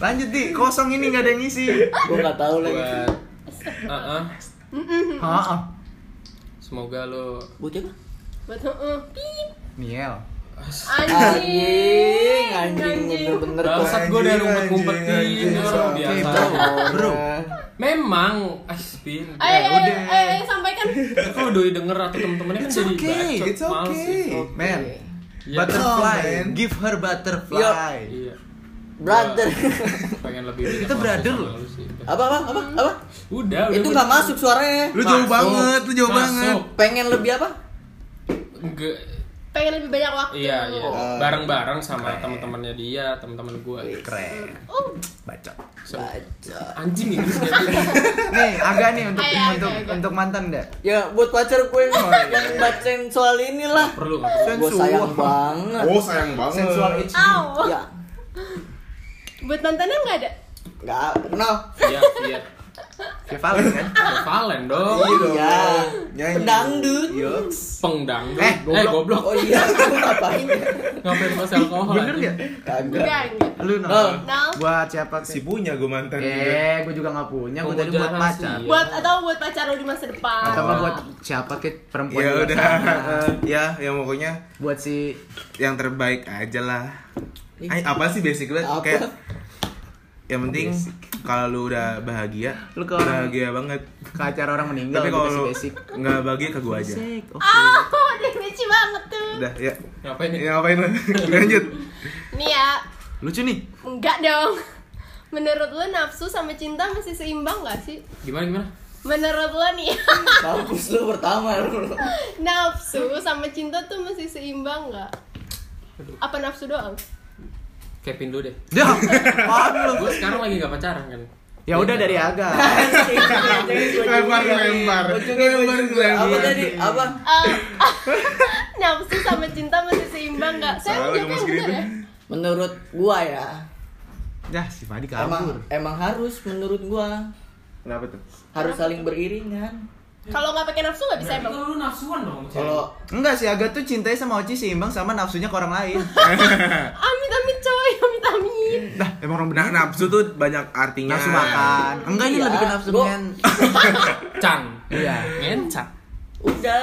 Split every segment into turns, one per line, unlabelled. Lanjut di, kosong ini nggak ada yang ngisi.
Gue nggak tahu lagi.
buat Heeh.
Hah?
semoga lo
Bocah kan?
Buat heeh. Pip.
Niel.
Anjing, anjing,
Eh, Anjing.
bener-bener tuh.
Bangsat gue dari ngumpet-ngumpetin
Anjing, anjing,
ini orang
anjing.
biasa
Oke, bro. Bro.
Memang Aspin
Ya,
Ayo, ayo,
udah.
ayo, ayo, eh, sampaikan.
Aku doi denger atau temen-temennya kan
It's
jadi
okay,
bacot,
it's
males
okay.
sih.
Man.
Iya.
Butterfly,
Oh, man.
give her butterfly.
Iya
Brother.
Pengen lebih banyak
Itu
masuk
brother
sama
loh.
lu sih.
apa apa apa apa?
Udah, udah
Itu
gua-
nggak masuk suaranya.
Lu jauh
Masuk.
banget, lu jauh
Masuk.
banget.
Pengen lebih apa?
Enggak
Pengen lebih banyak waktu.
Iya, iya.
Oh.
Bareng-bareng sama teman-temannya dia, teman-teman gua.
Keren.
Oh,
Bacot.
So-
Baca.
Anjing Inggris kayak
Nih, agak nih untuk
Ayo, ayo,
untuk
ayo.
untuk mantan enggak?
Ya buat pacar
Oh,
gue yang
iya,
yang bacain soal inilah.
perlu nggak
Kan
perlu.
Gue sayang banget.
Oh sayang banget.
Sensual itch.
Au.
Ya,
Buat mantannya nggak ada.
nggak kenal.
Iya, iya.
Kayak Valen kan?
Ya, Valen dong.
Iya dong.
Iya.
Nyanyi.
Pedangdut.
Yoks.
Pengdang.
Eh,
eh goblok.
Oh iya, gue ngapain ya?
Ngapain pas alkohol?
Bener
anjing.
enggak?
Kagak.
Enggak, enggak.
Lu nol.
Nol.
Buat siapa?
Si punya gue mantan juga.
Eh, gue juga nggak punya. Gue tadi buat
Pemuda
pacar.
rahasia.
Buat atau buat pacar lo di masa depan.
Atau nggak buat siapa ke perempuan
Ya
di luar
udah.
sana.
ya, yang pokoknya
Buat si
yang terbaik aja lah. Ay, apa sih basic banget?
Apa?
Kayak yang penting kalau lu udah bahagia,
Lu kalau-
bahagia banget.
ke acara orang meninggal
Tapi
gitu
kalau
si
lu
basic.
nggak bahagia ke gua aja.
Basic. Oh.
Oh, dia benci banget tuh.
Udah, ya.
Ngapain nih?
Ya ngapain lu? Lanjut.
Nih ya,
Lucu nih.
enggak dong. Menurut lo nafsu sama cinta masih seimbang gak sih?
Gimana gimana?
Menurut lo nih,
Kampus lu pertama lu.
nafsu sama cinta tuh masih seimbang gak? Apa nafsu doang?
Kevin dulu deh.
Ya, paham lu.
Gue sekarang lagi gak pacaran kan.
Ya udah dari agak.
Lempar, lempar. Lempar,
Apa
lempar.
tadi? Apa?
Eh, nafsu sama cinta masih seimbang gak? Saya
Salah
menjawabnya
Mas
bener
Grito.
ya?
Menurut gua ya,
Ya, si Fadi
emang
kabur.
emang harus menurut gua
Kenapa tuh?
harus saling beriringan.
Kalau nggak pakai nafsu nggak bisa ya, emang.
lu nafsuan dong.
Kalau
Enggak sih, Aga tuh cintanya sama Oci seimbang sama nafsunya ke orang lain.
Amit amit coy, amit amit.
Dah, emang orang benar.
Nah, nafsu tuh banyak artinya.
Nafsu makan. Enggak ini
Iya,
lebih ke nafsu
gua-
men.
Cang.
Iya.
Ngencang.
udah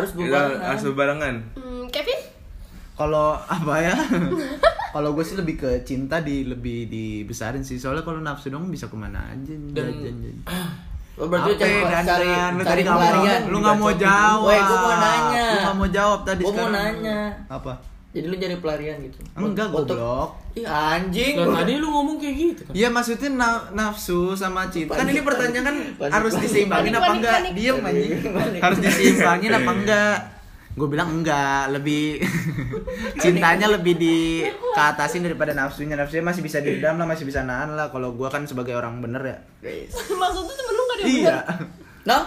harus
Kita
bubaran.
nafsu barengan.
Hmm, Kevin?
Kalau apa ya? kalau gue sih lebih ke cinta di lebih dibesarin sih. Soalnya kalau nafsu dong bisa kemana aja. jajan-jajan.
Lo
Apa,
berarti cari cari
dandan? lu
cari
tadi nggak mau-
pelarian.
lu nggak mau jawab.
Woi, gua mau nanya.
Lu nggak mau jawab tadi
Gua mau
sekarang.
nanya.
Apa?
Jadi lu nyari pelarian gitu.
Enggak
Untuk-
goblok.
Ih anjing.
Lah tadi lu ngomong kayak gitu kan.
Iya maksudnya na- nafsu sama cinta. Kan ini pertanyaan kan
Panik,
harus
panik.
diseimbangin
Panik,
apa
panik,
enggak?
panik.
Diem anjing.
Panik.
Harus diseimbangin apa enggak? Gue bilang enggak, lebih cintanya lebih di ke atasin daripada nafsunya. Nafsunya masih bisa diredam lah, masih bisa nahan lah. Kalau gue kan sebagai orang bener ya.
Guys.
Maksud tuh temen lu nggak ada yang
Iya.
bener.
No?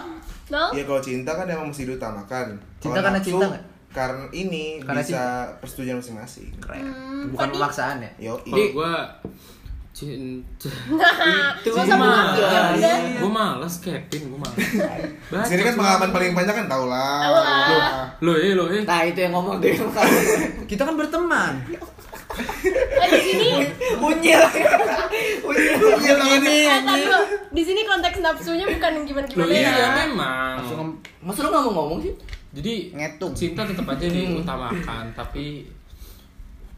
No?
Ya kalau cinta kan emang mesti diutamakan.
Cinta
Kalau
karena
nafsu,
cinta nggak?
Karena ini
Karena
bisa persetujuan masing-masing.
Keren.
Hmm,
Bukan
Fadi?
pemaksaan ya.
Yo,
Kalau gue cinta.
Nah,
Itu
Gua
sama
males.
Kevin, ya.
Gue males Kevin, gue males. Baca,
Sini kan pengalaman paling banyak kan tau lah.
Tahu lah.
Iya.
Lo eh lo eh.
Nah, itu yang ngomong tuh yang
Kita kan berteman.
Eh, di sini,
Unyil. Unyil. Unyil
kan Iya,
ini
eh, tar
anjing.
dulu. di sini konteks nafsunya bukan gimana
Lo
gimana
iya
ya.
memang.
Langsung
Masa lu nggak mau ngomong sih?
Jadi
Ngetung.
cinta tetap aja diutamakan, tapi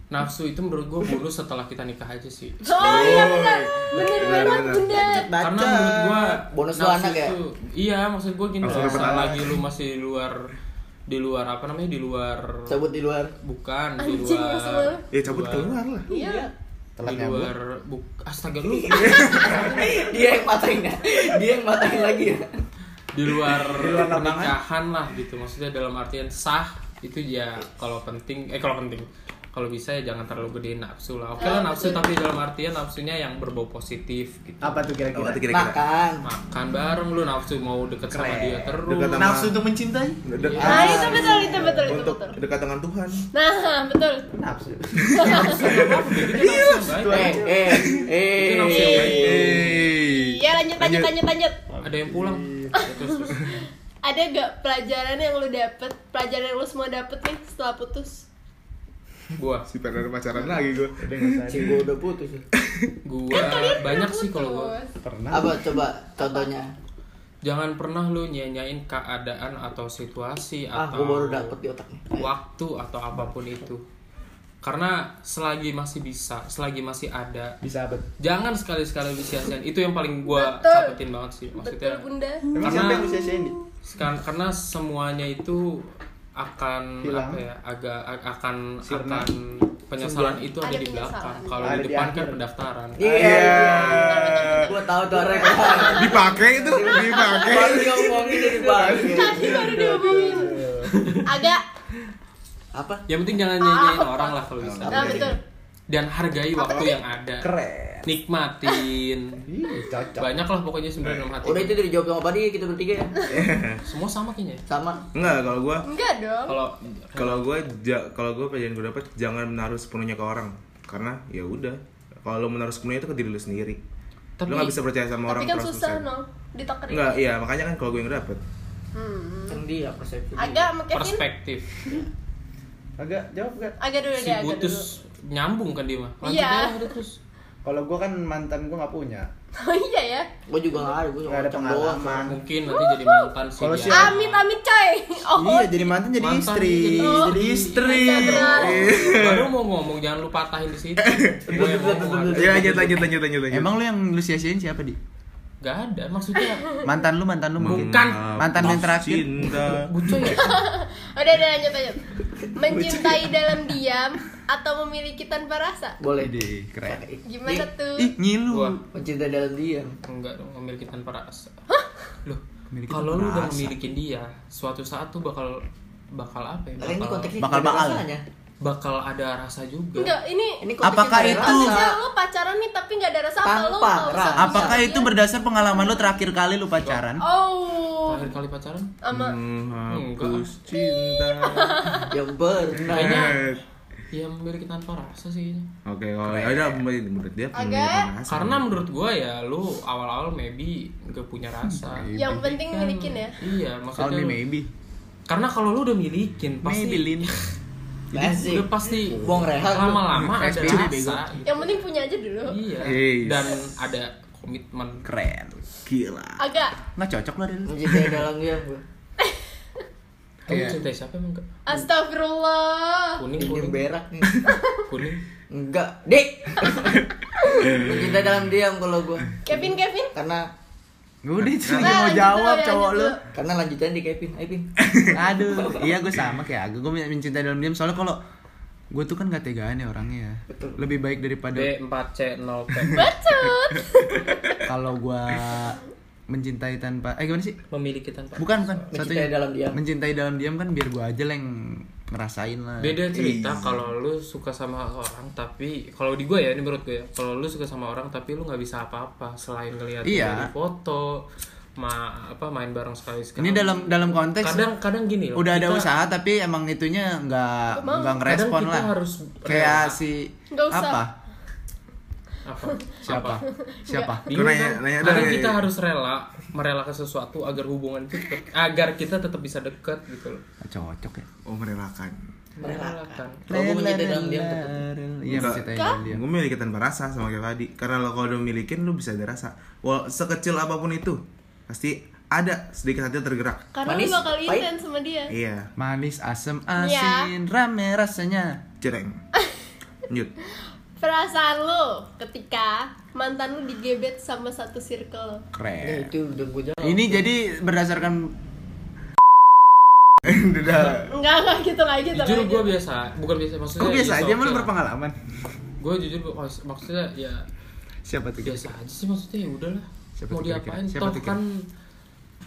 nafsu itu menurut gue bonus setelah kita nikah aja sih.
Oh iya benar, benar
Benar,
banget
benar.
bener.
Baca.
Karena menurut gua
bonus lu
nafsu
anak ya.
itu- Iya, maksud gua gini,
Nafsu dapat
saat
anak.
lagi lu masih di luar di luar apa namanya? Di luar
Cabut di luar.
bukan di
Anjing,
luar.
nafsu lu.
Ya cabut keluar lah.
Iya.
Di
ya,
luar buk, astaga lu.
Dia yang matain ya. Dia yang matain lagi ya.
di luar
luar lapangan.
pernikahan lah gitu. Maksudnya dalam artian sah itu ya kalau penting eh kalau penting kalau bisa ya jangan terlalu gedein nafsu lah. Oke lah nafsu tapi dalam artian nafsunya yang berbau positif gitu.
apa tuh
Tahu
kira-kira?
hati kira-kira.
Makan.
Makan bareng lu nafsu mau deket sama
Keren.
dia terus.
Deket sama-
Nafsu untuk mencintai?
Dekat
Nah itu betul, itu betul, itu
untuk
betul.
dekat dengan Tuhan.
Nah betul.
Nafsu.
Iya,
Eh, eh, eh.
Itu nafsu yang baik.
Iya lanjut, lanjut, lanjut, lanjut.
Ada yang pulang.
Iya.
Terus, terus.
Ada gak pelajaran yang lu dapet, pelajaran yang lu semua dapet nih setelah putus?
gua
si pengen ada pacaran lagi gue
Si gua udah putus. ya.
Kan
gua banyak sih kalau gua
Putus.
Apa coba contohnya?
jangan pernah lu nyanyain keadaan atau situasi
Ah,
atau
gua baru dapet di otaknya.
waktu atau apapun itu karena selagi masih bisa selagi masih ada
bisa bet
jangan sekali-sekali lu sia-siain itu yang paling gua
Betul.
capetin banget sih
Betul
maksudnya
bunda.
emang
Karena- Eh.
siapa yang bisa ini
sekarang karena semuanya itu akan
Hilang.
apa ya agak a- akan
Sirna.
akan penyesalan itu ada,
Ada
di belakang
penyesalan.
kalau
Ada
di
di
depan kan
akhir.
pendaftaran
Iya. Gua tahu tuh orang.
dipakai itu dipakai
Baru ngomongin jadi bang.
Tadi baru diomongin. Agak.
Apa?
yang penting
Ah.
jangan nyanyiin orang lah kalau bisa
Nah betul.
dan hargai waktu yang ada
keren
nikmatin
Ih, cocok
banyak lah pokoknya sebenarnya
Iya.
dalam hati
Udah itu dari jawab sama Padi kita bertiga ya.
semua sama kayaknya ya.
Sama.
enggak kalau gue
Enggak dong.
kalau
kalau gue ja- kalau gue pelajaran gue dapat jangan menaruh sepenuhnya ke orang karena ya udah kalau lo menaruh sepenuhnya itu ke diri lo sendiri
Tapi-
lo nggak bisa percaya sama orang
Tapi kan
100%.
susah no ditokerin.
Enggak, iya makanya kan kalau gue yang dapet
Hmm.
Kan dia persepsi.
Agak sama Kevin.
perspektif
agak jawab gak
Agak dulu
si
deh, agak dulu.
butus nyambung kan dia mah lanjut
Iya.
aja, udah terus
kalau gua kan mantan gua nggak punya
Oh iya ya.
Gua juga nggak ada, gua cuma
nggak ada
ngocok doang.
pengalaman
mungkin nanti jadi mantan sih
Kalau
dia.
si-
Amit amit coy. Oh. iya,
iya jadi mantan jadi
Mantan
istri
jadi
jadi istri
Bener.
baru mau ngomong jangan lu patahin di situ Gua yang ngomong ada.
ya lanjut lanjut lanjut lanjut
Iya.
lanjut
Iya. emang lu yang lu sia-siain siapa di
gak ada maksudnya
mantan lu mantan lu mungkin
Bukan.
mantan yang terakhir.
cinta
bucoy ya
Udah udah lanjut lanjut. Mencintai dalam diam atau memiliki tanpa rasa.
Boleh.
Ide, keren ih
Gimana tuh?
gua
ngilu
Mencinta dalam dia.
enggak dong memiliki tanpa rasa loh
Memiliki tanpa
kalau lu udah
rasa.
memiliki dia suatu saat tuh bakal bakal apa ya
Nah, ini
bakal,
konteksnya
Bakal-bakal.
gak ada rasanya.
bakal ada rasa juga
Enggak, ini
Ini konteksnya
Apakah
gak ada
itu-
rasa.
Harusnya lu pacaran nih tapi nggak ada rasa apa lu
Tanpa
nggak usah
rasa.
apakah itu berdasar pengalaman lu terakhir kali lu pacaran
Oh,
terakhir kali pacaran
sama
menghapus cinta
yang benar?
kayaknya ya memiliki tanpa rasa sih kayaknya.
oke kalau ya udah menurut menurut dia
Agak.
pemilihan rasa.
karena menurut gua ya lu awal-awal maybe nggak punya rasa
yang penting milikin ya.
iya
kalau me
maksudnya lu-
maybe
karena kalau lu udah milikin pasti
maybe lin
Asik.
udah pasti
Bong Rehan.
lama-lama ada
SBY, bego.
rasa
Yang penting punya aja dulu.
iya
Yes.
dan ada komitmen
keren
gila
Agak
nggak cocok lu Adil.
Mencintai dalam dia gua.
kamu
Iya.
cintai siapa emang Kak?
astagfirullah.
kuning
Ini
kuning
berak nih.
kuning
Enggak, Dik. Mencintai dalam diam kalau gua.
Kevin Kevin.
Karena
udah itu
Nah,
mau
lanjut
jawab
dulu,
cowok
lanjut
lu
dulu.
karena lanjutan di Kevin, Kevin.
aduh iya gue sama kayak agak gue mencintai dalam diam soalnya kalau gue tuh kan gak tegaan ya orangnya ya
Betul.
lebih baik daripada
D 4 C 0 P
Bacut.
kalau gue mencintai tanpa eh gimana sih
memiliki tanpa
bukan bukan
Mencintai dalam diam.
mencintai dalam diam kan biar gue aja lah yang ngerasain lah
beda cerita kalau lu suka sama orang tapi kalau di gue ya ini menurut gue ya kalau lu suka sama orang tapi lu nggak bisa apa-apa selain ngeliat
Iya.
dari foto ma apa main bareng sekali sekali
ini dalam dalam konteks
kadang kadang gini loh
udah ada
kita-
usaha tapi emang itunya nggak
Emang,
nggak ngerespon
kadang
lah
kita harus
kayak
rela.
si
Nggak usah.
apa
apa
siapa
apa?
siapa
Gua
Bingung kan?
nanya- nanya
Kadang
dong.
kita harus rela merelakan sesuatu agar hubungan itu tetap- agar kita tetap bisa dekat gitu loh.
Nggak cocok ya
oh merelakan
Merelakan.
Kalau gua mencintai dalam diam
Nah,
tetap.
iya
Nggak.
mencintai dalam diam
gue miliki tanpa rasa sama kayak tadi karena lo kalau udah milikin lo bisa ada rasa Wah, sekecil apapun itu pasti ada sedikit hati tergerak
Karena
Manis,
lu bakal
pahit.
intens sama dia.
iya
manis asem
Iya.
asin rame rasanya
cereng lanjut
Perasaan lu ketika mantan lu digebet sama satu
Ya,
nah,
circle.
keren
itu udah gua jawab.
ini jadi berdasarkan
Enggak, enggak gitu, enggak gitu.
Jujur
enggak
gue
gitu.
biasa, bukan biasa maksudnya.
kok biasa aja malu berpengalaman
Gue jujur gua- maksudnya ya
siapa tuh
biasa aja sih maksudnya ya udahlah.
Siapa
Mau
tuh kira-kira?
diapain?
Siapa
Toh
tuh kira?
kan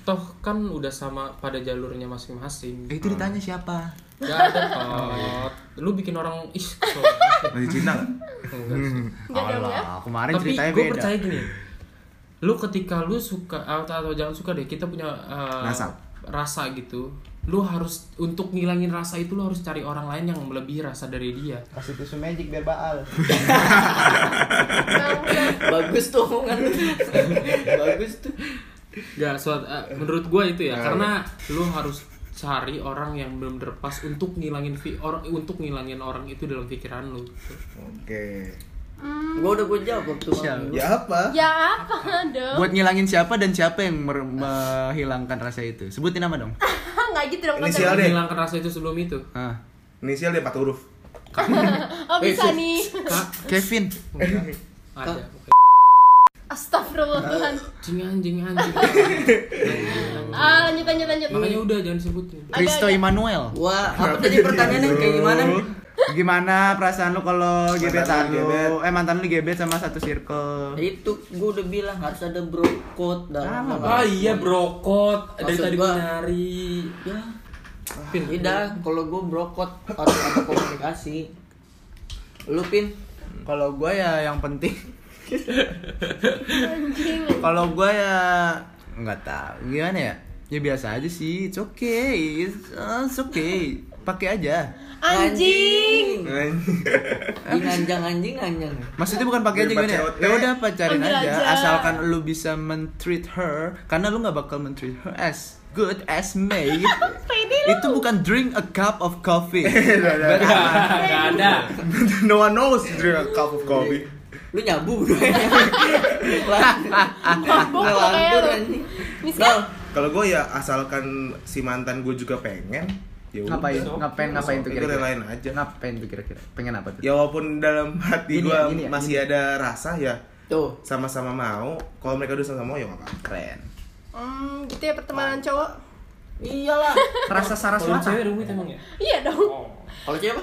toh kan udah sama pada jalurnya
eh, Oh,
masing-masing.
iya. itu ditanya siapa
Gak ada tot. Lu bikin orang ih kesel banget.
masih cinta nggak
Enggak sih.
Enggak dong ya.
Alah, Hmm, kemarin
tapi
ceritanya
gue
beda
percaya gini lu ketika lu suka atau, atau jangan suka deh kita punya uh,
Rasa.
rasa gitu lu harus untuk ngilangin rasa itu lu harus cari orang lain yang melebihi rasa dari dia
kasih tisu magic biar baal
Enggak, enggak.
bagus tuh omongan lu. bagus tuh.
eh, gak suat- uh, menurut gue itu ya karena lu harus cari orang yang belum terlepas untuk ngilangin fi or- untuk ngilangin orang itu dalam pikiran lu
Oke.
Gua udah gue jawab waktu malam.
Ya apa?
Ya apa dong?
Buat ngilangin siapa dan siapa yang mer- menghilangkan rasa itu? Sebutin nama dong.
Hah, nggak gitu dong
ya?
konsepnya.
Inisial deh.
ngilangkan rasa itu sebelum itu
Ah,
Inisial dia empat huruf.
Oh
Eh,
bisa
Sus.
nih.
kak
Kevin.
enggak ada
Astagfirullah Tuhan.
anjing anjing anjing
Ah lanjut lanjut lanjut.
makanya udah jangan sebutin
Risto
ada.
Immanuel.
Wah, apa tadi pertanyaannya kayak gimana?
Gimana perasaan lu kalau
Mantan
gebetan
lu
lu?
gebet.
Eh mantan lu gebet sama satu circle.
Itu gua udah bilang harus ada bro code dalam.
Salah,
ah iya brokot dari
Maksud
tadi
gua-
gua nyari
Ya.
Pin.
Tidak, kalau gue brokot harus ada komunikasi. Lu pin,
Kalau gua ya yang penting.
Anjing.
Kalau gua ya nggak tahu gimana ya. Ya biasa aja sih. It's okay. It's, uh, it's okay. Pakai aja.
Anjing.
Anjing anjang anjing anjang.
Maksudnya bukan pakai aja
Biar
gimana? ya?
pacar
Ya
otak.
udah pacarin
Ambil
aja,
aja.
asalkan lu bisa mentreat her karena lu nggak bakal mentreat her as good as me.
Pede lu.
Itu bukan drink a cup of coffee.
Iya,
Nggak
But-
Enggak ada
no one knows drink a cup of coffee.
Lu nyabu gue. Mabuk
Mabok lo kayak lu. Miska?
Kalau gue ya asalkan si mantan gue juga pengen, ya udah.
ngapain? Ngapain ngapain tuh
Itu
kira-kira?
relain aja.
Ngapain tuh kira-kira? Pengen apa tuh?
Ya walaupun dalam hati
Gini
gue
ya, gini ya,
masih ada rasa ya
Tuh.
sama-sama mau. Kalau mereka udah sama-sama mau ya nggak apa.
Keren.
Hmm, gitu ya pertemanan cowok.
Iyalah.
Rasa
kalau
saraswata.
cewek rumit emang ya
Iya dong.
oh
Kalau siapa?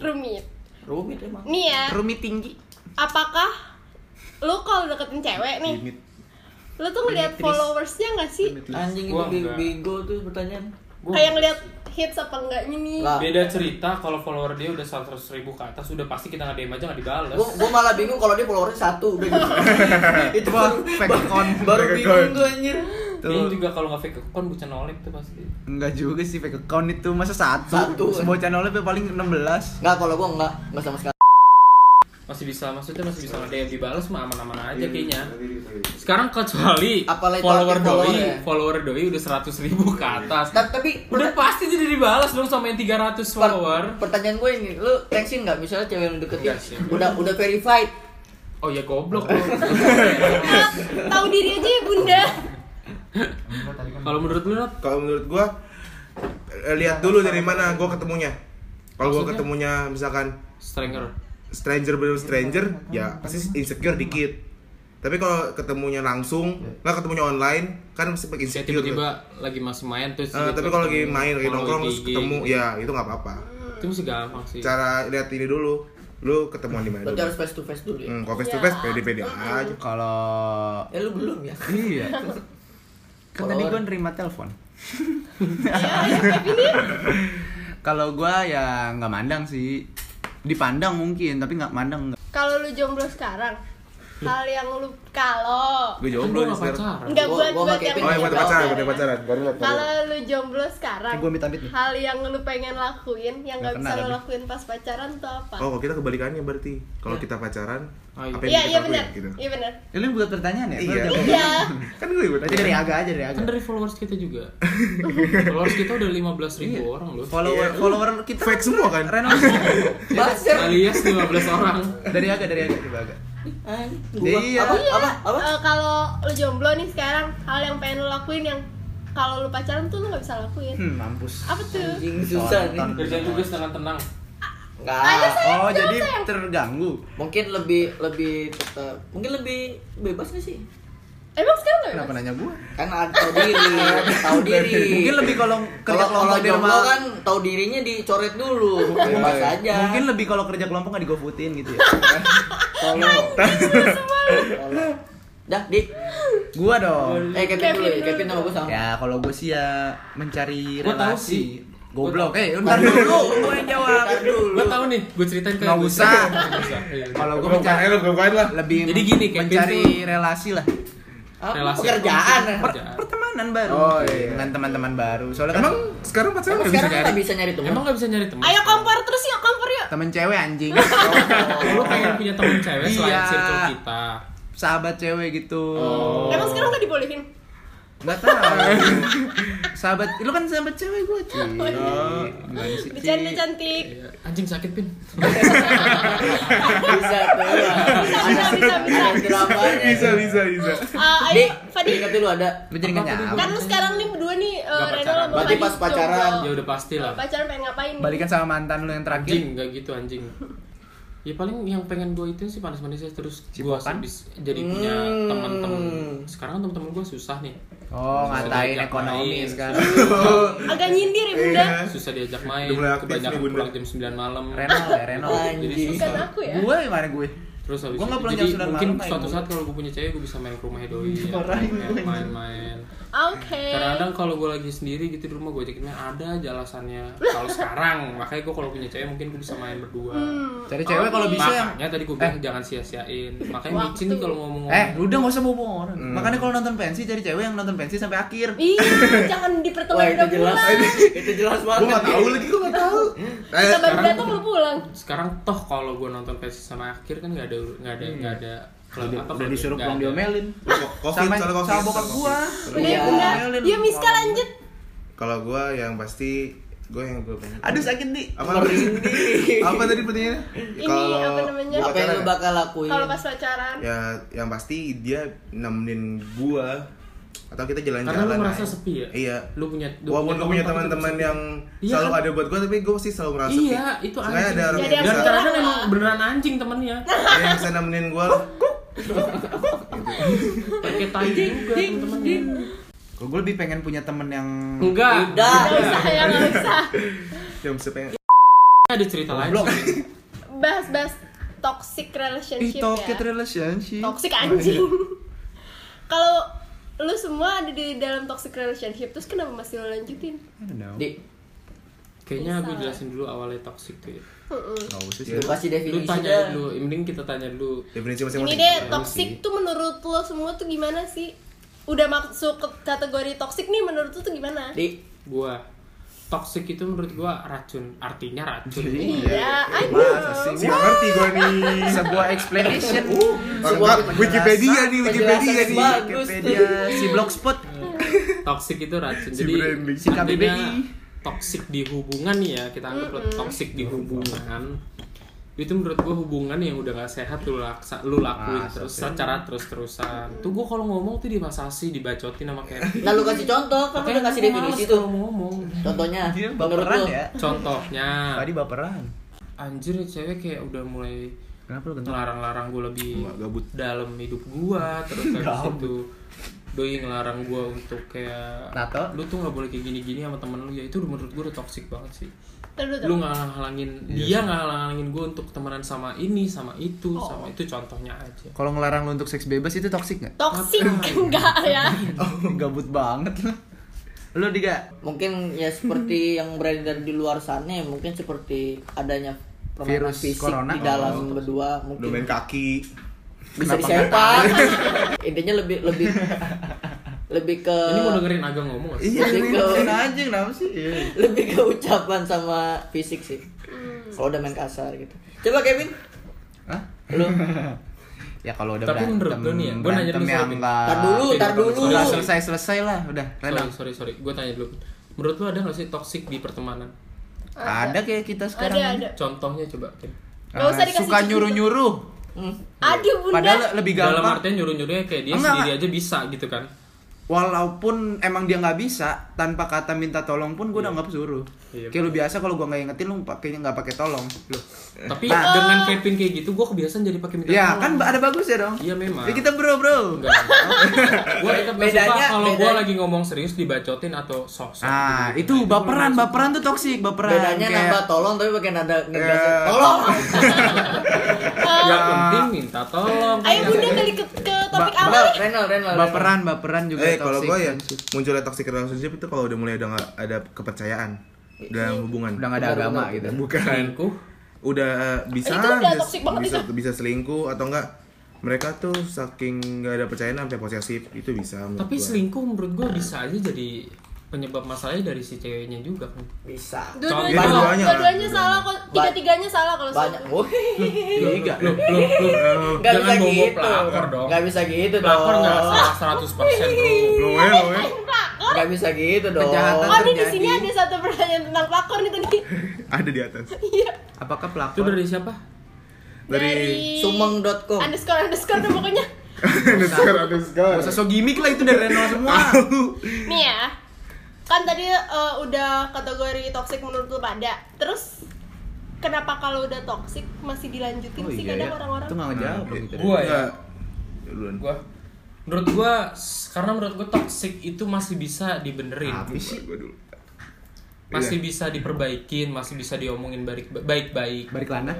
Rumit.
Rumit emang.
Nih ya,
Rumit tinggi.
apakah lu kalau deketin cewek nih,
Limit.
lu tuh ngeliat
Dimitris.
followersnya nggak sih?
Anjing itu
Gua
big-
enggak.
bigo tuh pertanyaan.
Gua-
Kayak ngeliat hits apa enggaknya nih?
Lah.
beda cerita kalau follower dia udah 100 ribu ke atas udah pasti kita nggak DM aja nggak dibales
Gue gua malah bingung kalau dia followernya satu udah gitu. itu
Wah,
baru,
fake account.
baru
Fake
bingung
account.
gue anjir.
dia juga kalau nggak fake account bukan nolip tuh pasti
Enggak juga sih fake account itu masa satu.
Satu.
Semua channel lebih paling 16.
Enggak kalau gue enggak, enggak sama sekali.
masih bisa maksudnya masih bisa nge DM dibales mah aman-aman aja
Iya,
kayaknya sekarang kecuali
Apalagi
follower
tapi
doi
follower ya.
follower doi udah 100 ribu ke
Iya.
atas
Ta- Tapi
udah pasti jadi dibales dong sama yang 300
Per-
follower
Pertanyaan gue ini, lu tensin nggak misalnya cewek yang lu deketin?
Nggak sih.
Udah udah verified.
oh ya goblok
Ah, tahu diri aja ya bunda.
kalau menurut lu Nat,
Kalau menurut gue lihat dulu dari mana gue ketemunya. Kalau gue
Maksudnya?
ketemunya misalkan
stranger
stranger bener stranger ya pasti insecure dikit tapi kalau ketemunya langsung nggak ketemunya online kan mesti pakai
saya
insecure tuh.
tiba-tiba lagi masih main terus
Eh, tapi kalau lagi main lagi nongkrong terus ketemu
ya
ya itu nggak apa-apa
itu masih gampang sih Kan
cara lihat ini dulu lu ketemuan di mana
Berarti
dulu
harus face to face dulu ya.
hmm, kalau
Iya.
face to face pede pede aja
Kalau
Eh lu belum ya?
Iya. Kan tadi gue
Follower.
nerima telepon.
Iya,
Kalau gue ya nggak mandang sih, dipandang mungkin tapi nggak mandang. nggak.
Kalau lu jomblo sekarang, hal yang lu kalau
gue
Kan gua
jomblo nih
nggak
sekarang
pacaran
nggak
Gua-
buat
gua
buat
pakai
yang
oh yang buat
Nggak
iya,
pacaran
tahu.
buat pacaran baru lihat baru lihat.
Kalau lu jomblo sekarang,
Gua amit amit nih.
hal yang lu pengen lakuin, yang
Nggak
nggak bisa
kena
lu
lagi.
lakuin pas pacaran tuh apa?
oh kalau kita kebalikannya berarti kalau kita pacaran
Iya. Oh, iya.
apa yang
Iya
kita
iya
lakuin
benar,
gitu
iya benar.
Ini buat pertanyaan ya? Gua
Iya.
jawab.
Iya.
kan gue ikut
Berarti dari agak aja dari Iya. agak.
kan dari followers kita juga followers kita udah 15 ribu orang loh
Follower
Iya.
follower kita
fake semua kan
Reno
Baser.
alias 15 orang
dari agak dari agak dari agak.
Eh, gua-
Iya.
Apa apa apa?
Eh, kalau lu jomblo nih sekarang, hal yang pengen lu lakuin yang kalau lu pacaran tuh lu nggak bisa lakuin.
Hmm, mampus.
Apa tuh?
Anjing susah nih.
Nonton.
kerjaan tugas dengan tenang
Enggak.
Oh jadi terganggu.
Mungkin lebih lebih tetap mungkin lebih bebas gak sih?
Emang sekarang nggak?
Kenapa
bebas?
nanya gue?
Kan ada tahu diri, tahu diri.
Mungkin lebih kalau kerja
kalau kalau
kelompok di
jomblo
rumah.
kan ya. tahu dirinya dicoret dulu, bebas aja.
Mungkin lebih kalau kerja kelompok nggak digofutin gitu ya.
kalau Kalau- Dah, Dik.
Gua dong.
Eh, Kevin dulu,
Kevin
Kevin
dulu.
sama gue sama.
Ya kalau gue sih ya mencari
Gua tahu sih.
relasi.
Gua
Goblok.
tahu.
Eh, ntar dulu gue yang jawab.
Ntar dulu.
gue tau nih gue ceritain ke
Nggak
gua
usah.
ceritain. Nggak usah, iya.
Kalau gue
gue
mencari
lu gue lah
lebih
Jadi gini, Kevin
mencari
tuh-
relasi lah.
Apa?
Relasi.
Pekerjaan.
Pekerjaan.
Pertemanan baru.
Oh, iya.
Dengan teman-teman baru. Soalnya
emang
kan
sekarang pacaran
Emang
nggak bisa
sekarang
nyari
nggak bisa nyari teman.
iya. emang gak bisa nyari teman
Ayo kompor terus yuk, kompor yuk.
temen cewek anjing.
lu pengen punya teman cewek selain
Iya.
circle kita
Sahabat cewek gitu.
Oh.
Oh. Emang sekarang nggak dibolehin?
Gak tahu. sahabat, lu kan sahabat cewek gue cuy. Oh, gimana sih?
Bercanda cantik.
Iya. Anjing sakit pin.
Bisa tuh.
Bisa, bisa, bisa, bisa.
bisa bisa bisa
Ah,
Dik,
ayo,
Dik,
Fadi.
kata lu ada.
Lu jadi gak nyambung.
Kan lu sekarang nih berdua nih, eh,
Gak
Reno
pacaran.
sama
Berarti
Fadi
pas pacaran,
jomblo.
Ya udah pastilah.
Pacaran pengen ngapain? nih?
Balikan sama mantan lu yang terakhir.
Anjing, gak gitu anjing. Ya paling yang pengen gue itu sih panas-panasnya terus gue
Cipokan?
habis jadi punya
Hmm.
teman-teman. Sekarang teman-teman gue susah nih.
Oh, ngatain
Diajak
ekonomi
main.
sekarang.
Agak nyindir ya, Bunda.
Iya.
Susah diajak main,
Udah mulai aktif
kebanyakan
nih, Bunda.
pulang jam 9 malam.
Reno ya, Reno.
Jadi
Anjing.
Bukan
susah.
aku ya.
Gue gimana gue?
Terus habis
Gua nggak
itu,
pulang jam
jadi
9
mungkin
malam, ya.
suatu
main.
saat kalau gue punya cewek gue bisa main ke rumah doi ya,
Parah
main-
gue.
main-main.
Oke.
Kadang-kadang kalau gue lagi sendiri gitu di rumah gue ajakin main ada aja alasannya. Kalau sekarang makanya gue kalau punya cewek mungkin gue bisa main berdua.
Hmm,
Cari cewek
oke.
kalau bisa ya? yang
Makanya tadi gue bilang jangan sia-siain. Makanya micin
Waktu.
nih kalau ngomong-ngomong.
Eh, lu udah gak usah bobo orang.
Hmm.
Makanya kalau nonton pensi cari cewek yang nonton pensi sampai akhir.
Iya, jangan di
Wah,
pertengahan
itu
udah
jelas. Eh,
pulang.
Itu jelas banget.
gue nggak tahu lagi gue nggak tahu
Kita
Eh,
baru
sekarang-
datang lu pulang.
sekarang toh kalau gue nonton versi sama akhir kan nggak ada nggak ada nggak ada kalau
Udah
apa
udah disuruh
nggak
pulang
ada.
diomelin.
covid
Sama
soalnya covid
sama bokap
soalnya
gua.
covid.
Udah
Iya.
ya, Bunda.
Diomelin.
Ya, Miska lanjut.
kalau gue yang pasti gue yang gue pengen
Aduh sakit nih.
apa apa tadi pertanyaannya
Ini apa namanya?
gua
Apa yang lu
pacaran ya?
bakal
Oh, iya.
lakuin?
Kalau pas pacaran.
ya yang pasti dia nemenin gua atau kita jalan-jalan
karena lu merasa
aja.
sepi ya
iya
lu punya lu
walaupun gue punya
tapi lu
teman-teman
sepi.
yang
Iya
selalu
kan?
ada buat gua tapi gue sih selalu merasa sepi
iya itu
Makanya
anjing
ada orang
Jadi
yang
dan
yang
bisa
sekarang-
kadang emang beneran anjing temennya
ada yang bisa nemenin gua lah
pakai tai juga temen-temennya
Kok gue lebih pengen punya temen yang
enggak
Udah.
Gak usah ya, gak usah.
yang bisa pengen
ada cerita lain
Goblok.
sih.
Bahas-bahas toxic
Ih,
relationship
toxic
ya.
relationship. Oh, iya.
Toxic anjing. Kalau lu semua ada di dalam toxic relationship, terus kenapa masih lo lanjutin?
I don't know.
Di,
kayaknya gue jelasin dulu awalnya toxic tuh ya
Mm-mm.
nggak usah sih
lu kasih
lu
definisi dah.
tanya dulu mending kita tanya dulu
definisi
Ini deh,
masing-masing
Iya sih.
toxic tuh menurut lo semua tuh gimana sih? Udah masuk ke kategori toxic nih menurut lo tuh gimana?
Iya.
Di,
gua toxic itu menurut gua racun artinya racun
Iya, I
Masa
know.
sih?
sih nggak ngerti gua nih
Sebuah explanation.
Enggak, Wikipedia nih, Wikipedia
penjelasan
nih.
yang bagus
Wikipedia, si blogspot.
toxic itu racun
Si
jadi
branding.
Si
artinya
KBBI.
toxic di hubungan nih ya kita anggap toxic di hubungan itu menurut gua hubungan yang udah gak sehat lu laksa, lu lakuin
Masa
terus
sih?
secara terus terusan tuh gua kalau ngomong tuh dipasasi dibacotin sama Kevin
nah lu kasih contoh, kan lu udah kasih definisi tuh.
ngomong
Contohnya,
Dia
menurut
baperan
lu.
ya.
contohnya
Tadi baperan.
anjir ya cewek kayak udah mulai
Kenapa lu kenal?
ngelarang-larang gue lebih
Wah, gabut.
dalam hidup gua terus habis itu doi ngelarang gua untuk kayak
Nato?
lu tuh nggak boleh kayak gini-gini sama temen lu ya itu udah menurut gua udah toxic banget sih
Terus
lu ngalang-halangin
Iya
dia ngalang-halangin gue untuk temenan sama ini sama itu sama itu contohnya aja
Kalau ngelarang lu untuk seks bebas itu toksik nggak?
toxic enggak ya?
Oh, gabut banget lu. Lu diga
Mungkin ya seperti yang beredar di luar sana, ya, mungkin seperti adanya permainan
Virus
fisik
corona.
di dalam
Oh.
berdua mungkin
domain kaki
bisa
Kenapa
disepak. Intinya lebih lebih lebih ke
Eh,
ini mau dengerin agak ngomong gak sih?
Iya,
Lebih ke-
dengerin aja kenapa sih? Iya.
lebih ke ucapan sama fisik sih. Kalau udah main kasar gitu. Coba Kevin,
Hah?
lu
Ya kalau udah
Tapi menurut
berantem,
lu nih ya, gua nanya
berantem yang
dulu soal-
enggak.
tar dulu, tar dulu.
Udah selesai-selesai lah, udah. Rela.
sorry sorry sorry gue tanya dulu menurut lu ada gak sih toxic di pertemanan
Ada kayak kita sekarang.
Ada ada.
contohnya coba Kim.
Nggak
Ah,
usah dikasih
Suka
contoh.
nyuruh-nyuruh.
Hmm.
Ada bunda.
Padahal lebih
dalam
gampang.
artian nyuruh nyuruhnya kayak dia
Enggak,
sendiri aja bisa gitu kan
Walaupun emang dia nggak bisa, tanpa kata minta tolong pun gue udah nggak suruh.
Iya,
kayak lu biasa kalau gue nggak ingetin lu pakainya nggak pakai tolong.
loh tapi
Nah.
dengan Kevin kayak gitu gue kebiasaan jadi pakai minta
Ya
tolong.
kan ada bagus ya dong.
iya
Ya,
memang
kita bro bro.
enggak gue tetap gak suka
Bedanya-
kalau gue
bedanya-
lagi ngomong serius dibacotin atau sosok
Ah
gitu,
itu baperan baperan tuh toksik baperan.
bedanya
Kayak- Iya.
nambah tolong tapi pakai nada ngegasin.
Ya.
Tolong.
yang penting minta tolong
Ayo bunda kali ke, ke topik
Ba-
awal.
Renal, renal.
baperan baperan juga
eh
toxic
kalau gue ya
friendship.
munculnya toxic relationship itu kalau udah mulai ada nggak- ada kepercayaan dalam hubungan
udah nggak ada
Benar,
agama
benar.
gitu
bukan
kan? selingkuh
udah eh, bisa
Itu udah
bisa-
toxic banget
bisa, bisa selingkuh atau enggak mereka tuh saking nggak ada percayaan sampai posesif itu bisa menurut
tapi
gua.
selingkuh menurut gue bisa aja jadi penyebab masalahnya dari si ceweknya juga kan
bisa
Dua-duanya
Banyak.
salah.
Banyak.
Dua-duanya salah kok. Tiga-tiganya salah kalau
banyak
saya.
woi
Iya, Tiga.
lu lu
Eh,
lu
nggak bisa
jangan bawa bawa
gitu
pelakor dong
nggak bisa gitu dong
pelakor nggak salah seratus persen
Loe, loe.
nggak bisa gitu dong
Kejahatan.
Oh, ini di
Terjadi.
sini ada satu pertanyaan tentang pelakor nih tadi.
Ada di atas.
Iya.
Apakah
itu
pelakor
dari siapa
Dari-
sumeng.com
underscore underscore tuh pokoknya.
Underscore, underscore.
Gak usah so gimmick lah itu dari Reno semua
Oh,
Nih ya. Kan tadi eh, udah kategori toxic menurut lu pada. Terus kenapa kalau udah toxic masih dilanjutin sih
iya,
kadang orang-orang?
Oh iya ya. Itu gak ngejawab gitu
Nah,
loh kita
Gua ya?
Nggak. Duluan.
gua menurut gua s- karena menurut gua toxic itu masih bisa dibenerin
Apa sih?
Gua dulu.
masih
iya.
bisa diperbaikin masih bisa diomongin baik baik baik
Balik lana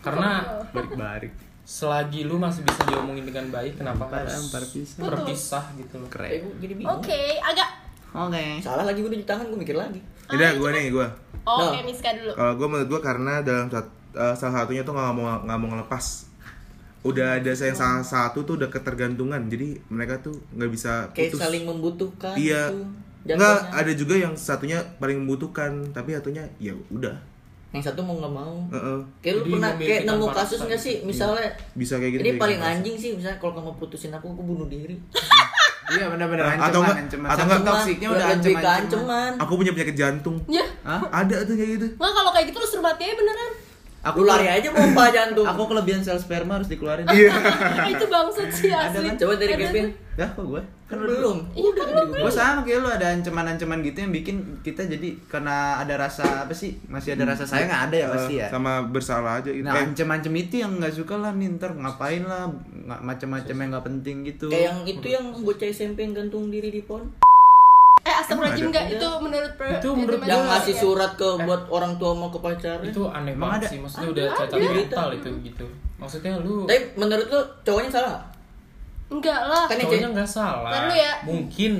karena
Balik-balik
selagi lu masih bisa diomongin dengan baik kenapa
Parah,
harus
parah pisah.
berpisah gitu loh
eh
Keren
gue jadi bingung
Oke, agak
Oke
salah lagi gue di tangan gue mikir lagi
Udah, gua nih, gua.
Oh,
Nah.
Oke, Miska dulu.
Kalau gua menurut gua karena dalam sat- eh, salah satunya tuh nggak mau nggak mau ngelepas. Udah ada saya yang salah satu tuh udah ketergantungan. Jadi mereka tuh nggak bisa
kayak
putus.
saling membutuhkan
Iya.
gitu.
Enggak,
Jatuhnya.
ada juga yang satunya paling membutuhkan, tapi satunya ya udah.
yang satu mau nggak mau
Heeh.
kayak lu
Jadi
pernah
memiliki
kayak nemu
tanpa
kasus
rasa.
nggak sih misalnya
Bisa kayak gitu.
ini
kayak
paling
gitu.
anjing sih misalnya kalau kamu putusin aku aku bunuh diri
Iya benar-benar
Atau
ancaman
enggak-
ancaman.
atau
Saking
enggak-
toksiknya udah
lebih ke
ancaman.
ancaman
Aku punya penyakit jantung.
Ya.
Hah?
Ada tuh kayak gitu.
Nggak kalau kayak gitu lu suruh mati aja beneran.
Aku
lu lari aja mau apa jantung
Aku kelebihan sel sperma harus dikeluarin.
Iya.
itu bangsat sih
Ada
asli.
kan?
coba dari
Ada
Kevin
tuh.
Dah kok gue?
kan belum
Iya, kan lu
Gue sama kayak lu ada ancaman-ancaman gitu yang bikin kita jadi karena ada rasa apa sih? Masih ada rasa sayang ada
Eh,
ya pasti ya.
Eh, Sama bersalah aja gitu.
Nah,
Eh,
ancam-ancam itu yang nggak suka lah nih, ntar ngapain lah nggak- macam-macam yang nggak penting gitu.
kayak yang itu yang bocah SMP yang gantung diri di pohon
Eh, astagfirullahaladzim enggak itu menurut per-
Itu menurut
Manajemen
yang
ya.
ngasih surat ke buat orang tua mau ke pacarnya
itu aneh
Emang
banget
ada?
sih maksudnya udah cacat
ada.
mental itu gitu maksudnya lu
tapi menurut lu cowoknya salah nggak?
Enggak lah.
kan yang
cowoknya nggak salah
Ntar lu ya.
mungkin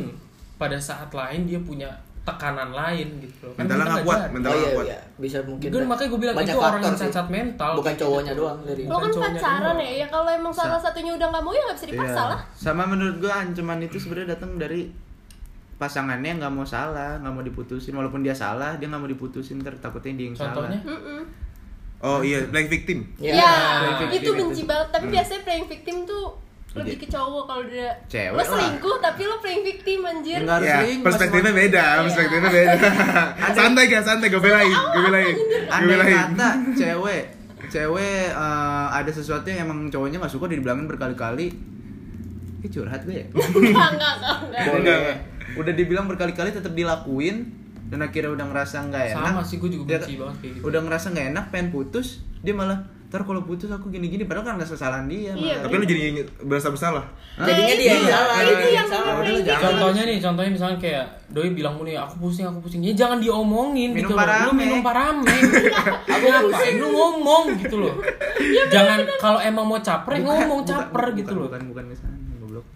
pada saat lain dia punya tekanan lain gitu loh Kan
mentalnya
kita
nggak
nggak
kuat,
jadi.
oh
mentalnya
iya,
nggak kuat.
iya bisa mungkin
Gue makanya gue bilang
Banyak
itu orang
faktor
yang
sih.
cacat mental.
bukan cowoknya doang dari
Lo kan
Bukan cowoknya
pacaran
doang.
ya, ya kalau emang salah satunya udah nggak mau ya nggak bisa
Iya.
dipaksa lah.
Sama menurut gue ancaman itu sebenarnya datang dari pasangannya yang nggak mau salah, nggak mau diputusin walaupun dia salah, dia nggak mau diputusin ntar takutnya dia yang salah.
Contohnya?
Mm-mm.
Oh iya, black victim.
Ya,
Iya.
playing
itu
victim
benci
itu.
banget. Tapi biasanya playing victim tuh lebih ke cowok kalau udah
Cewek
lo
lah.
selingkuh tapi lo playing victim anjir.
Enggak harus
Ya,
sering,
perspektifnya
masih- Iya.
beda, perspektifnya beda. santai gak, santai, gue belain, gue belain, gue
Andai
belain.
kata cewek cewek eh, ada sesuatu yang emang cowoknya nggak suka udah dibilangin berkali-kali ini curhat gue ya
enggak, enggak, enggak, enggak.
Boleh. Enggak, enggak.
udah dibilang berkali-kali tetap dilakuin dan akhirnya udah ngerasa nggak enak
Sama sih gue
Ya,
juga benci banget kayak gitu.
udah ngerasa nggak enak pengen putus dia malah ntar kalau putus aku gini-gini padahal kan nggak kesalahan dia malah.
Iya,
Tapi lu jadi berasa bersalah.
jadinya dia yang
Iya,
salah
itu
jadinya
yang
salah
Udah lu
playing
jangan.
victim.
Contohnya nih, contohnya misalnya kayak Doi bilang mulu ya, aku pusing, aku pusing. Ya jangan diomongin
Minum
gitu loh. Lu
parame.
minum parame. Aku pusing, lu ngomong gitu loh. jangan kalau emang mau caper,
Bukan,
ngomong
bukan,
caper
bukan,
gitu
bukan,
loh.
bukan bukan kesana goblok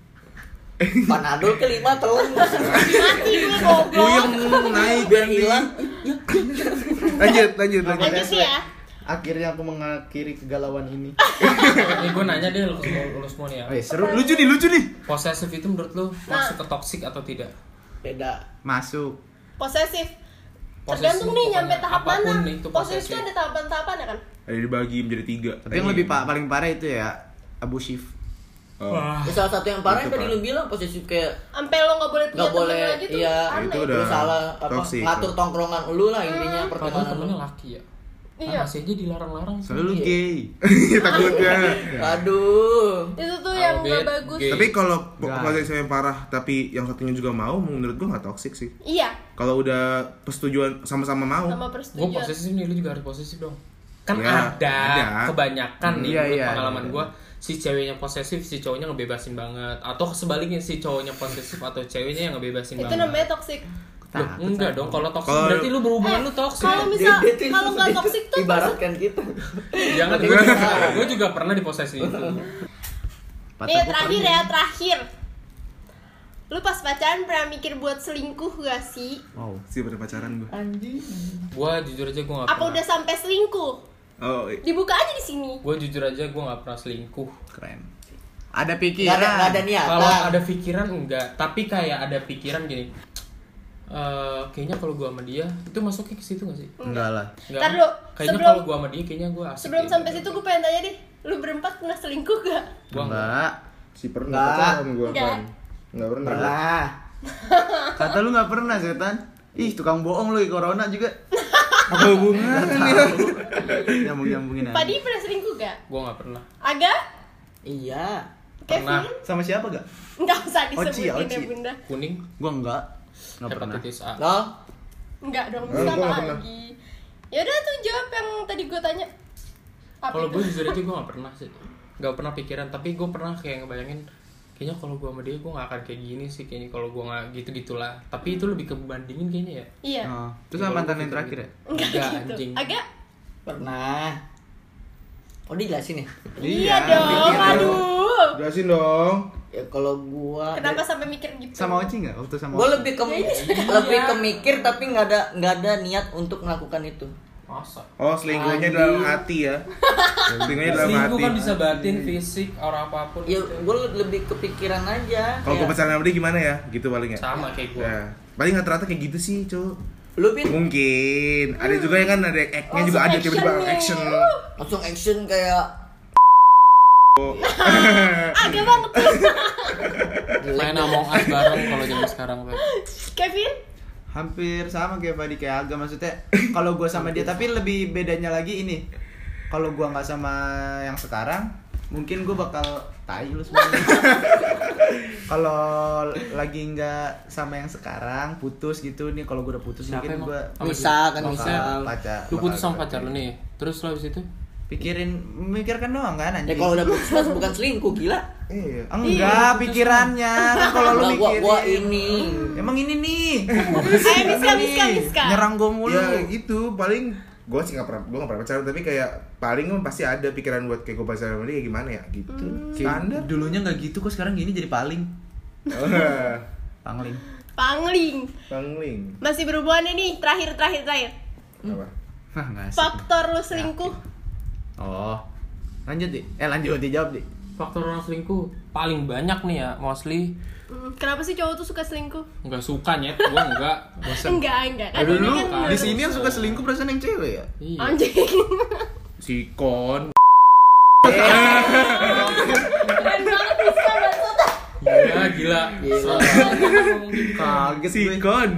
panadol kelima telan
Mati gue goblok.
Puyeng naik
biar hilang
Lanjut, lanjut, lanjut.
Lanjut sih ya.
akhirnya aku mengakhiri kegalauan ini
Ini gue Eh, nanya deh lu semua, lu semua nih ya.
Eh, seru
Lucu nih, lucu nih.
Posesif itu menurut lu
Nah.
masuk ke toxic atau tidak?
beda
masuk
Posesif.
Posesif
Tergantung nih
pokoknya
nyampe tahap
apapun
mana.
itu
Posesif
posesif.
tuh ada tahapan-tahapan ya kan?
Ada dibagi menjadi tiga.
tapi yang lebih pa- paling parah itu ya abusif
Oh.
Wah.
Ya, salah satu yang parah yang
Itu
tadi
parah.
lu bilang posesif kayak
Sampai lo nggak boleh punya
nggak
Iya, temen
boleh
lagi tuh.
iya
aneh.
Nah, Itu udah
Lu salah apa
toxic.
ngatur tongkrongan lu lah intinya
Padahal
pertemanan lu
temennya laki ya.
Iya.
Nah, masih aja dilarang-larang.
soalnya lu
Iya.
sendiri.
gay
Takutnya.
aduh
Itu tuh
Kalau
yang nggak
gay-
bagus.
gay.
Tapi kalau
Enggak.
posisi yang parah, tapi yang satunya juga mau, menurut gua nggak toksik sih.
Iya,
Kalau udah persetujuan sama-sama mau,
sama
gue
persetujuan.
posesif nih lu juga harus posesif dong kan
Ya,
ada,
ada.
kebanyakan nih
Iya,
menurut
iya,
pengalaman
iya.
gue si ceweknya posesif si cowoknya ngebebasin banget atau sebaliknya si cowoknya posesif atau ceweknya yang ngebebasin
Itu
banget
namanya toxic.
Loh,
Takut,
enggak dong kalau toksik
Kalau-
berarti lu berhubungan lu toksik
Kalau misal
Dia- dia tuh-
kalau nggak
dia tuh
toxic tuh
ibaratkan gitu. kita
jangan gue juga, gua juga pernah diposesif itu
Patah
Iya,
Nih
gua
terakhir
perih.
ya terakhir. Lu pas pacaran pernah mikir buat selingkuh gak sih?
wow
sih pada pacaran gua.
gue jujur aja gue gak
Apa udah
pernah
sampai selingkuh?
Oh, i-
Dibuka aja di sini.
gue jujur aja gue gak pernah selingkuh
keren ada
nggak
pikiran
ada nggak ada niatan
kalau ada pikiran enggak tapi kayak ada pikiran gini eh, kayaknya kalau gua sama dia itu masuknya ke situ gak sih?
Enggak lah.
Nggak.
Ntar dulu,
Kayaknya
sebelum-
kalau gua sama dia kayaknya gua asik.
Sebelum
deh.
sampai situ gue pengen tanya deh, lu berempat pernah selingkuh gak?
Gua enggak.
Enggak.
Si
Nggak.
pernah pacaran sama gue
Nggak.
kan? Enggak pernah.
Pernah. Kata lu nggak pernah setan. Ih tukang bohong lu corona juga.
Apa hubungannya?
Nyambung nyambungin aja.
Padi pernah selingkuh gak?
Gua enggak pernah.
Aga?
Iya.
Pernah.
Kevin?
Sama siapa gak?
Nggak usah
Oci ya,
disebutin ya
Oci.
bunda
Kuning,
Gua enggak. Enggak pernah.
hepatitis A.
Loh,
Enggak dong,
Eh,
bisa
gua nggak
apa
pernah.
lagi Yaudah tuh jawab yang tadi gue tanya Apa
Kalau
itu?
gue jujur aja gue gak pernah sih Gak pernah pikiran Tapi gue pernah kayak ngebayangin Kayaknya kalau gue sama dia gue gak akan kayak gini sih Kayaknya kalau gue gak gitu-gitulah Tapi itu lebih kebandingin kayaknya ya
Iya
Oh, Terus sama mantan yang terakhir ya?
Enggak
Enggak,
gitu
anjing.
Agak?
pernah. Oh, dijelasin ya?
Iya, dong,
mikir dong.
aduh
Jelasin dong.
Ya kalau gua
Kenapa Ya, iya. sampai mikir gitu?
Sama Oci nggak? Waktu sama
Gue
Oci.
lebih ke lebih ke mikir tapi nggak ada nggak ada niat untuk melakukan itu.
Masa?
Oh, selingkuhnya dalam hati ya. selingkuhnya dalam
Selingkuh
hati.
kan bisa batin, fisik, orang apapun
Ya
Iya.
gitu.
gue lebih kepikiran aja.
Kalau gue
Kayak,
pacaran sama dia gimana ya? Gitu paling ya.
Sama kayak gue
Ya. Paling rata-rata kayak gitu sih, Cuk.
lu Pin,
Mungkin ada juga yang kan ada act-nya juga ada
Langsung
tiba-tiba action.
Oh, action nih. Uh,
langsung action kayak
Agak banget tuh
Main Among Us bareng kalau zaman sekarang Pak.
Kevin?
Hampir sama kayak Padi kayak agak maksudnya. Kalau gua sama dia tapi lebih bedanya lagi ini. Kalau gua nggak sama yang sekarang, mungkin gua bakal tai lu semua. Kalau lagi nggak sama yang sekarang, putus gitu nih kalau gua udah putus
Siapa
mungkin
emang?
gua
Sama
Misal
dia.
kan,
Maksudnya,
misal.
pacar.
Lu putus
bakal-
sama pacar lu nih Terus lo abis itu?
Pikirin, mikirkan doang kan
ya
anjing.
kalau udah putus mas, bukan selingkuh gila.
Iya.
Enggak, pikirannya. Kan kalau lu
Gua- gua-
mikirin.
gua ini.
Emang ini nih.
Ayo Miska,
Ini
Miska,
nih,
Miska
Nyerang gua mulu.
Ya gitu, paling gue sih gak pernah, gue gak pernah pacaran tapi kayak paling emang pasti ada pikiran buat kayak gue pacaran sama dia kayak gimana ya gitu
Hmm.
standar
Dulunya nggak gitu kok sekarang gini jadi paling.
Oh,
Pangling.
Pangling
pangling
Masih berhubungan nih, terakhir, terakhir, terakhir
apa
Hah, nggak asik.
Faktor lu selingkuh
Oh. Lanjut, Di. Eh, lanjut dijawab, Di.
Faktor orang selingkuh paling banyak nih ya Mostly
Hmm, Kenapa sih cowok tuh suka selingkuh?
Nggak suka nyet Gue nggak Bosen
Enggak, enggak
Eh,
Kan ini
dulu
kan
di
menurut-
sini yang suka selingkuh perasaan yang cewek ya?
Iya
Anjing
si kon
Keren banget Miska, maksudnya
Gila, gila.
Kaget
si
gue.
kon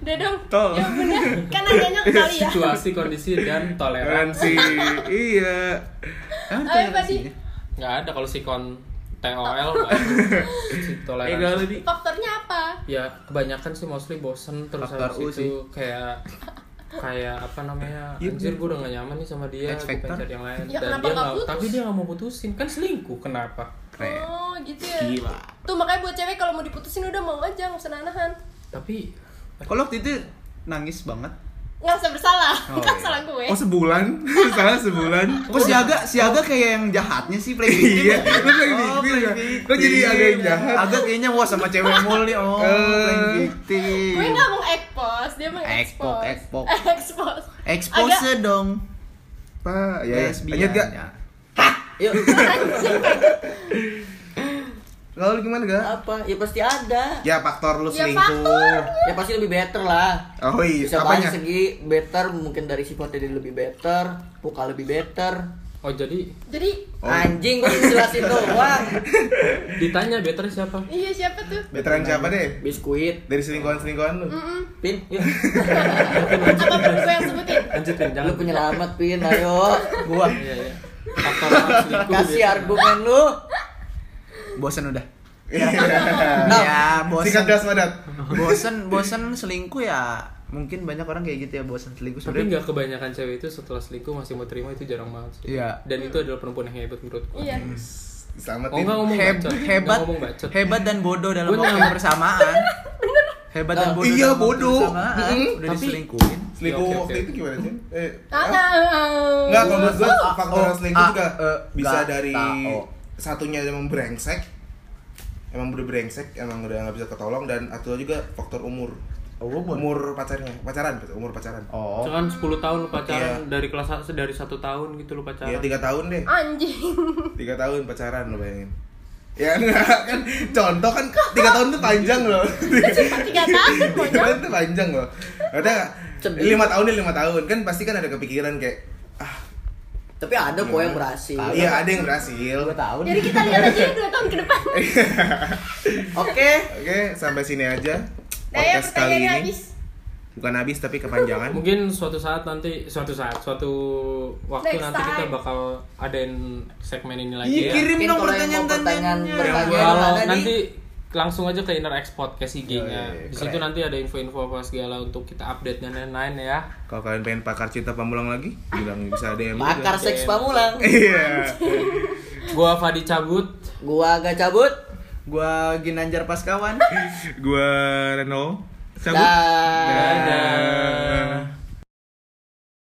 Udah dong.
Tol.
Ya bener. Kan nanyanya ke kali ya.
Situasi, kondisi, dan
kan
toleransi.
si iya
Ah,
Ayo,
toleransinya.
Padi.
Nggak ada kalau si kon TOL nggak ada. Si
eh
toleransi.
gak lebih
Faktornya apa?
Ya kebanyakan sih mostly bosen terus
Faktor U
habis
sih.
itu kayak kayak apa namanya
Iya,
anjir gue udah gak nyaman nih sama dia
X
gue pengen
factor.
cari yang lain
Ya, kenapa
dia
nggak
nggak-
putus?
tapi dia gak mau putusin kan selingkuh kenapa
Keren.
Oh, gitu ya. Tuh makanya buat cewek kalau mau diputusin udah mau aja nggak usah nahan.
tapi
Kalau waktu itu nangis banget.
Nggak usah bersalah.
Oh,
kan
iya.
salah gue.
oh sebulan salah sebulan
Kok siaga siaga kayak yang jahatnya sih play
iya
victim.
lu lagi
Oh,
mikir
play
ya
victim.
lu jadi agak yang jahat Eh.
Agak kayaknya wah sama cewek mulu nih. Oh, play victim.
Gue nggak mau ekpos, dia mau
Ekpok,
ekspos.
ekpok.
Ekspos.
Expose dong.
pak ya ya. lanjut
Lesbian.
gak
ya.
Yuk
kalau lu gimana gak
apa? Ya pasti ada.
ya faktor lu
Ya,
selingkuh
Ya pasti lebih better lah.
oh iya
Bisa banyak
apanya
segi better mungkin dari sifatnya jadi lebih better, muka lebih better.
oh jadi
Jadi
Oh.
Anjing gua jelasin doang.
ditanya better siapa
iya siapa tuh?
veteran siapa deh
Biskuit.
dari selingkuhan selingkuhan lu
Mm.
Mm-mm.
Pin,
Iya.
yuk.
Apa perlu gue yang sebutin?
lanjutin jangan
Lu penyelamat Pin, ayo.
Gua
iya iya faktor orang selingkuh
Kasih
biasanya.
argumen lu.
bosen udah.
Iya.
Ya, bosen.
Singkat gas padat.
Bosen, bosen selingkuh ya. Mungkin banyak orang kayak gitu ya bosen selingkuh
tapi
sebenarnya.
nggak kebanyakan cewek itu setelah selingkuh masih mau terima itu jarang banget sih.
Iya.
dan itu adalah perempuan yang hebat menurutku
Iya.
Selamat
oh nggak ngomong
Heb-
bacot
hebat,
Nggak ngomong bacot
hebat dan bodoh dalam
Gua
waktu
nyaman.
yang bersamaan. Hebat dan
Ah,
bodoh.
iya,
dalam waktu
bodoh.
bersamaan.
Mm-mm.
Udah
Nah, Tapi-
diselingkuhin.
Selingkuh
Oke, oke,
waktu
oke.
itu gimana sih? Eh,
Ah, ah,
ah?
ah.
Enggak, kalau menurut gue
Ah,
faktor
oh,
selingkuh
ah,
juga
eh,
bisa
nggak oh.
dari
tahu.
satunya emang brengsek, emang udah brengsek, emang udah nggak bisa ketolong dan atau juga faktor umur,
Oh, Umur.
umur pacarnya, pacaran, umur pacaran.
Oh.
Cuman 10 tahun lu pacaran
Iya.
dari kelas sa- dari satu tahun gitu lu pacaran.
Iya tiga Ya, tahun deh,
Anjing.
tiga tahun pacaran lo bayangin. Ya enggak kan contoh kan tiga tahun tuh panjang loh.
Cuma tiga tahun
Tiga
konyol.
tahun tuh panjang loh. Ada
Sedih.
lima tahun nih lima tahun kan pasti kan ada kepikiran kayak
Tapi ada kok yang berhasil.
iya ada yang berhasil.
Dua tahun.
Jadi kita lihat aja ya dua tahun ke depan.
Oke.
Oke sampai sini aja
Nah, ya
podcast kali
pertanyaannya
ini.
habis.
Bukan habis tapi kepanjangan.
Mungkin suatu saat nanti, suatu saat, suatu waktu
Next
nanti kita
time.
bakal adain segmen ini lagi
Iya,
ya.
kirim
Mungkin
dong
kalau yang mau pertanyaan
Iya.
pertanyaan-pertanyaannya.
pertanyaan
Kalau
Iya, ada
nanti
di
langsung aja ke Inner X Podcast
Yoi,
IG-nya. Di situ
keren.
nanti ada info-info apa segala untuk kita update dan lain-lain ya.
Kalau kalian pengen pakar cinta pamulang lagi, bilang bisa DM. juga.
Pakar Seks Pamulang.
Iya.
Gua Fadi cabut.
Gua agak cabut.
Gua Ginanjar Paskawan.
Gua Reno. Cabut.
Dah.
Dadah.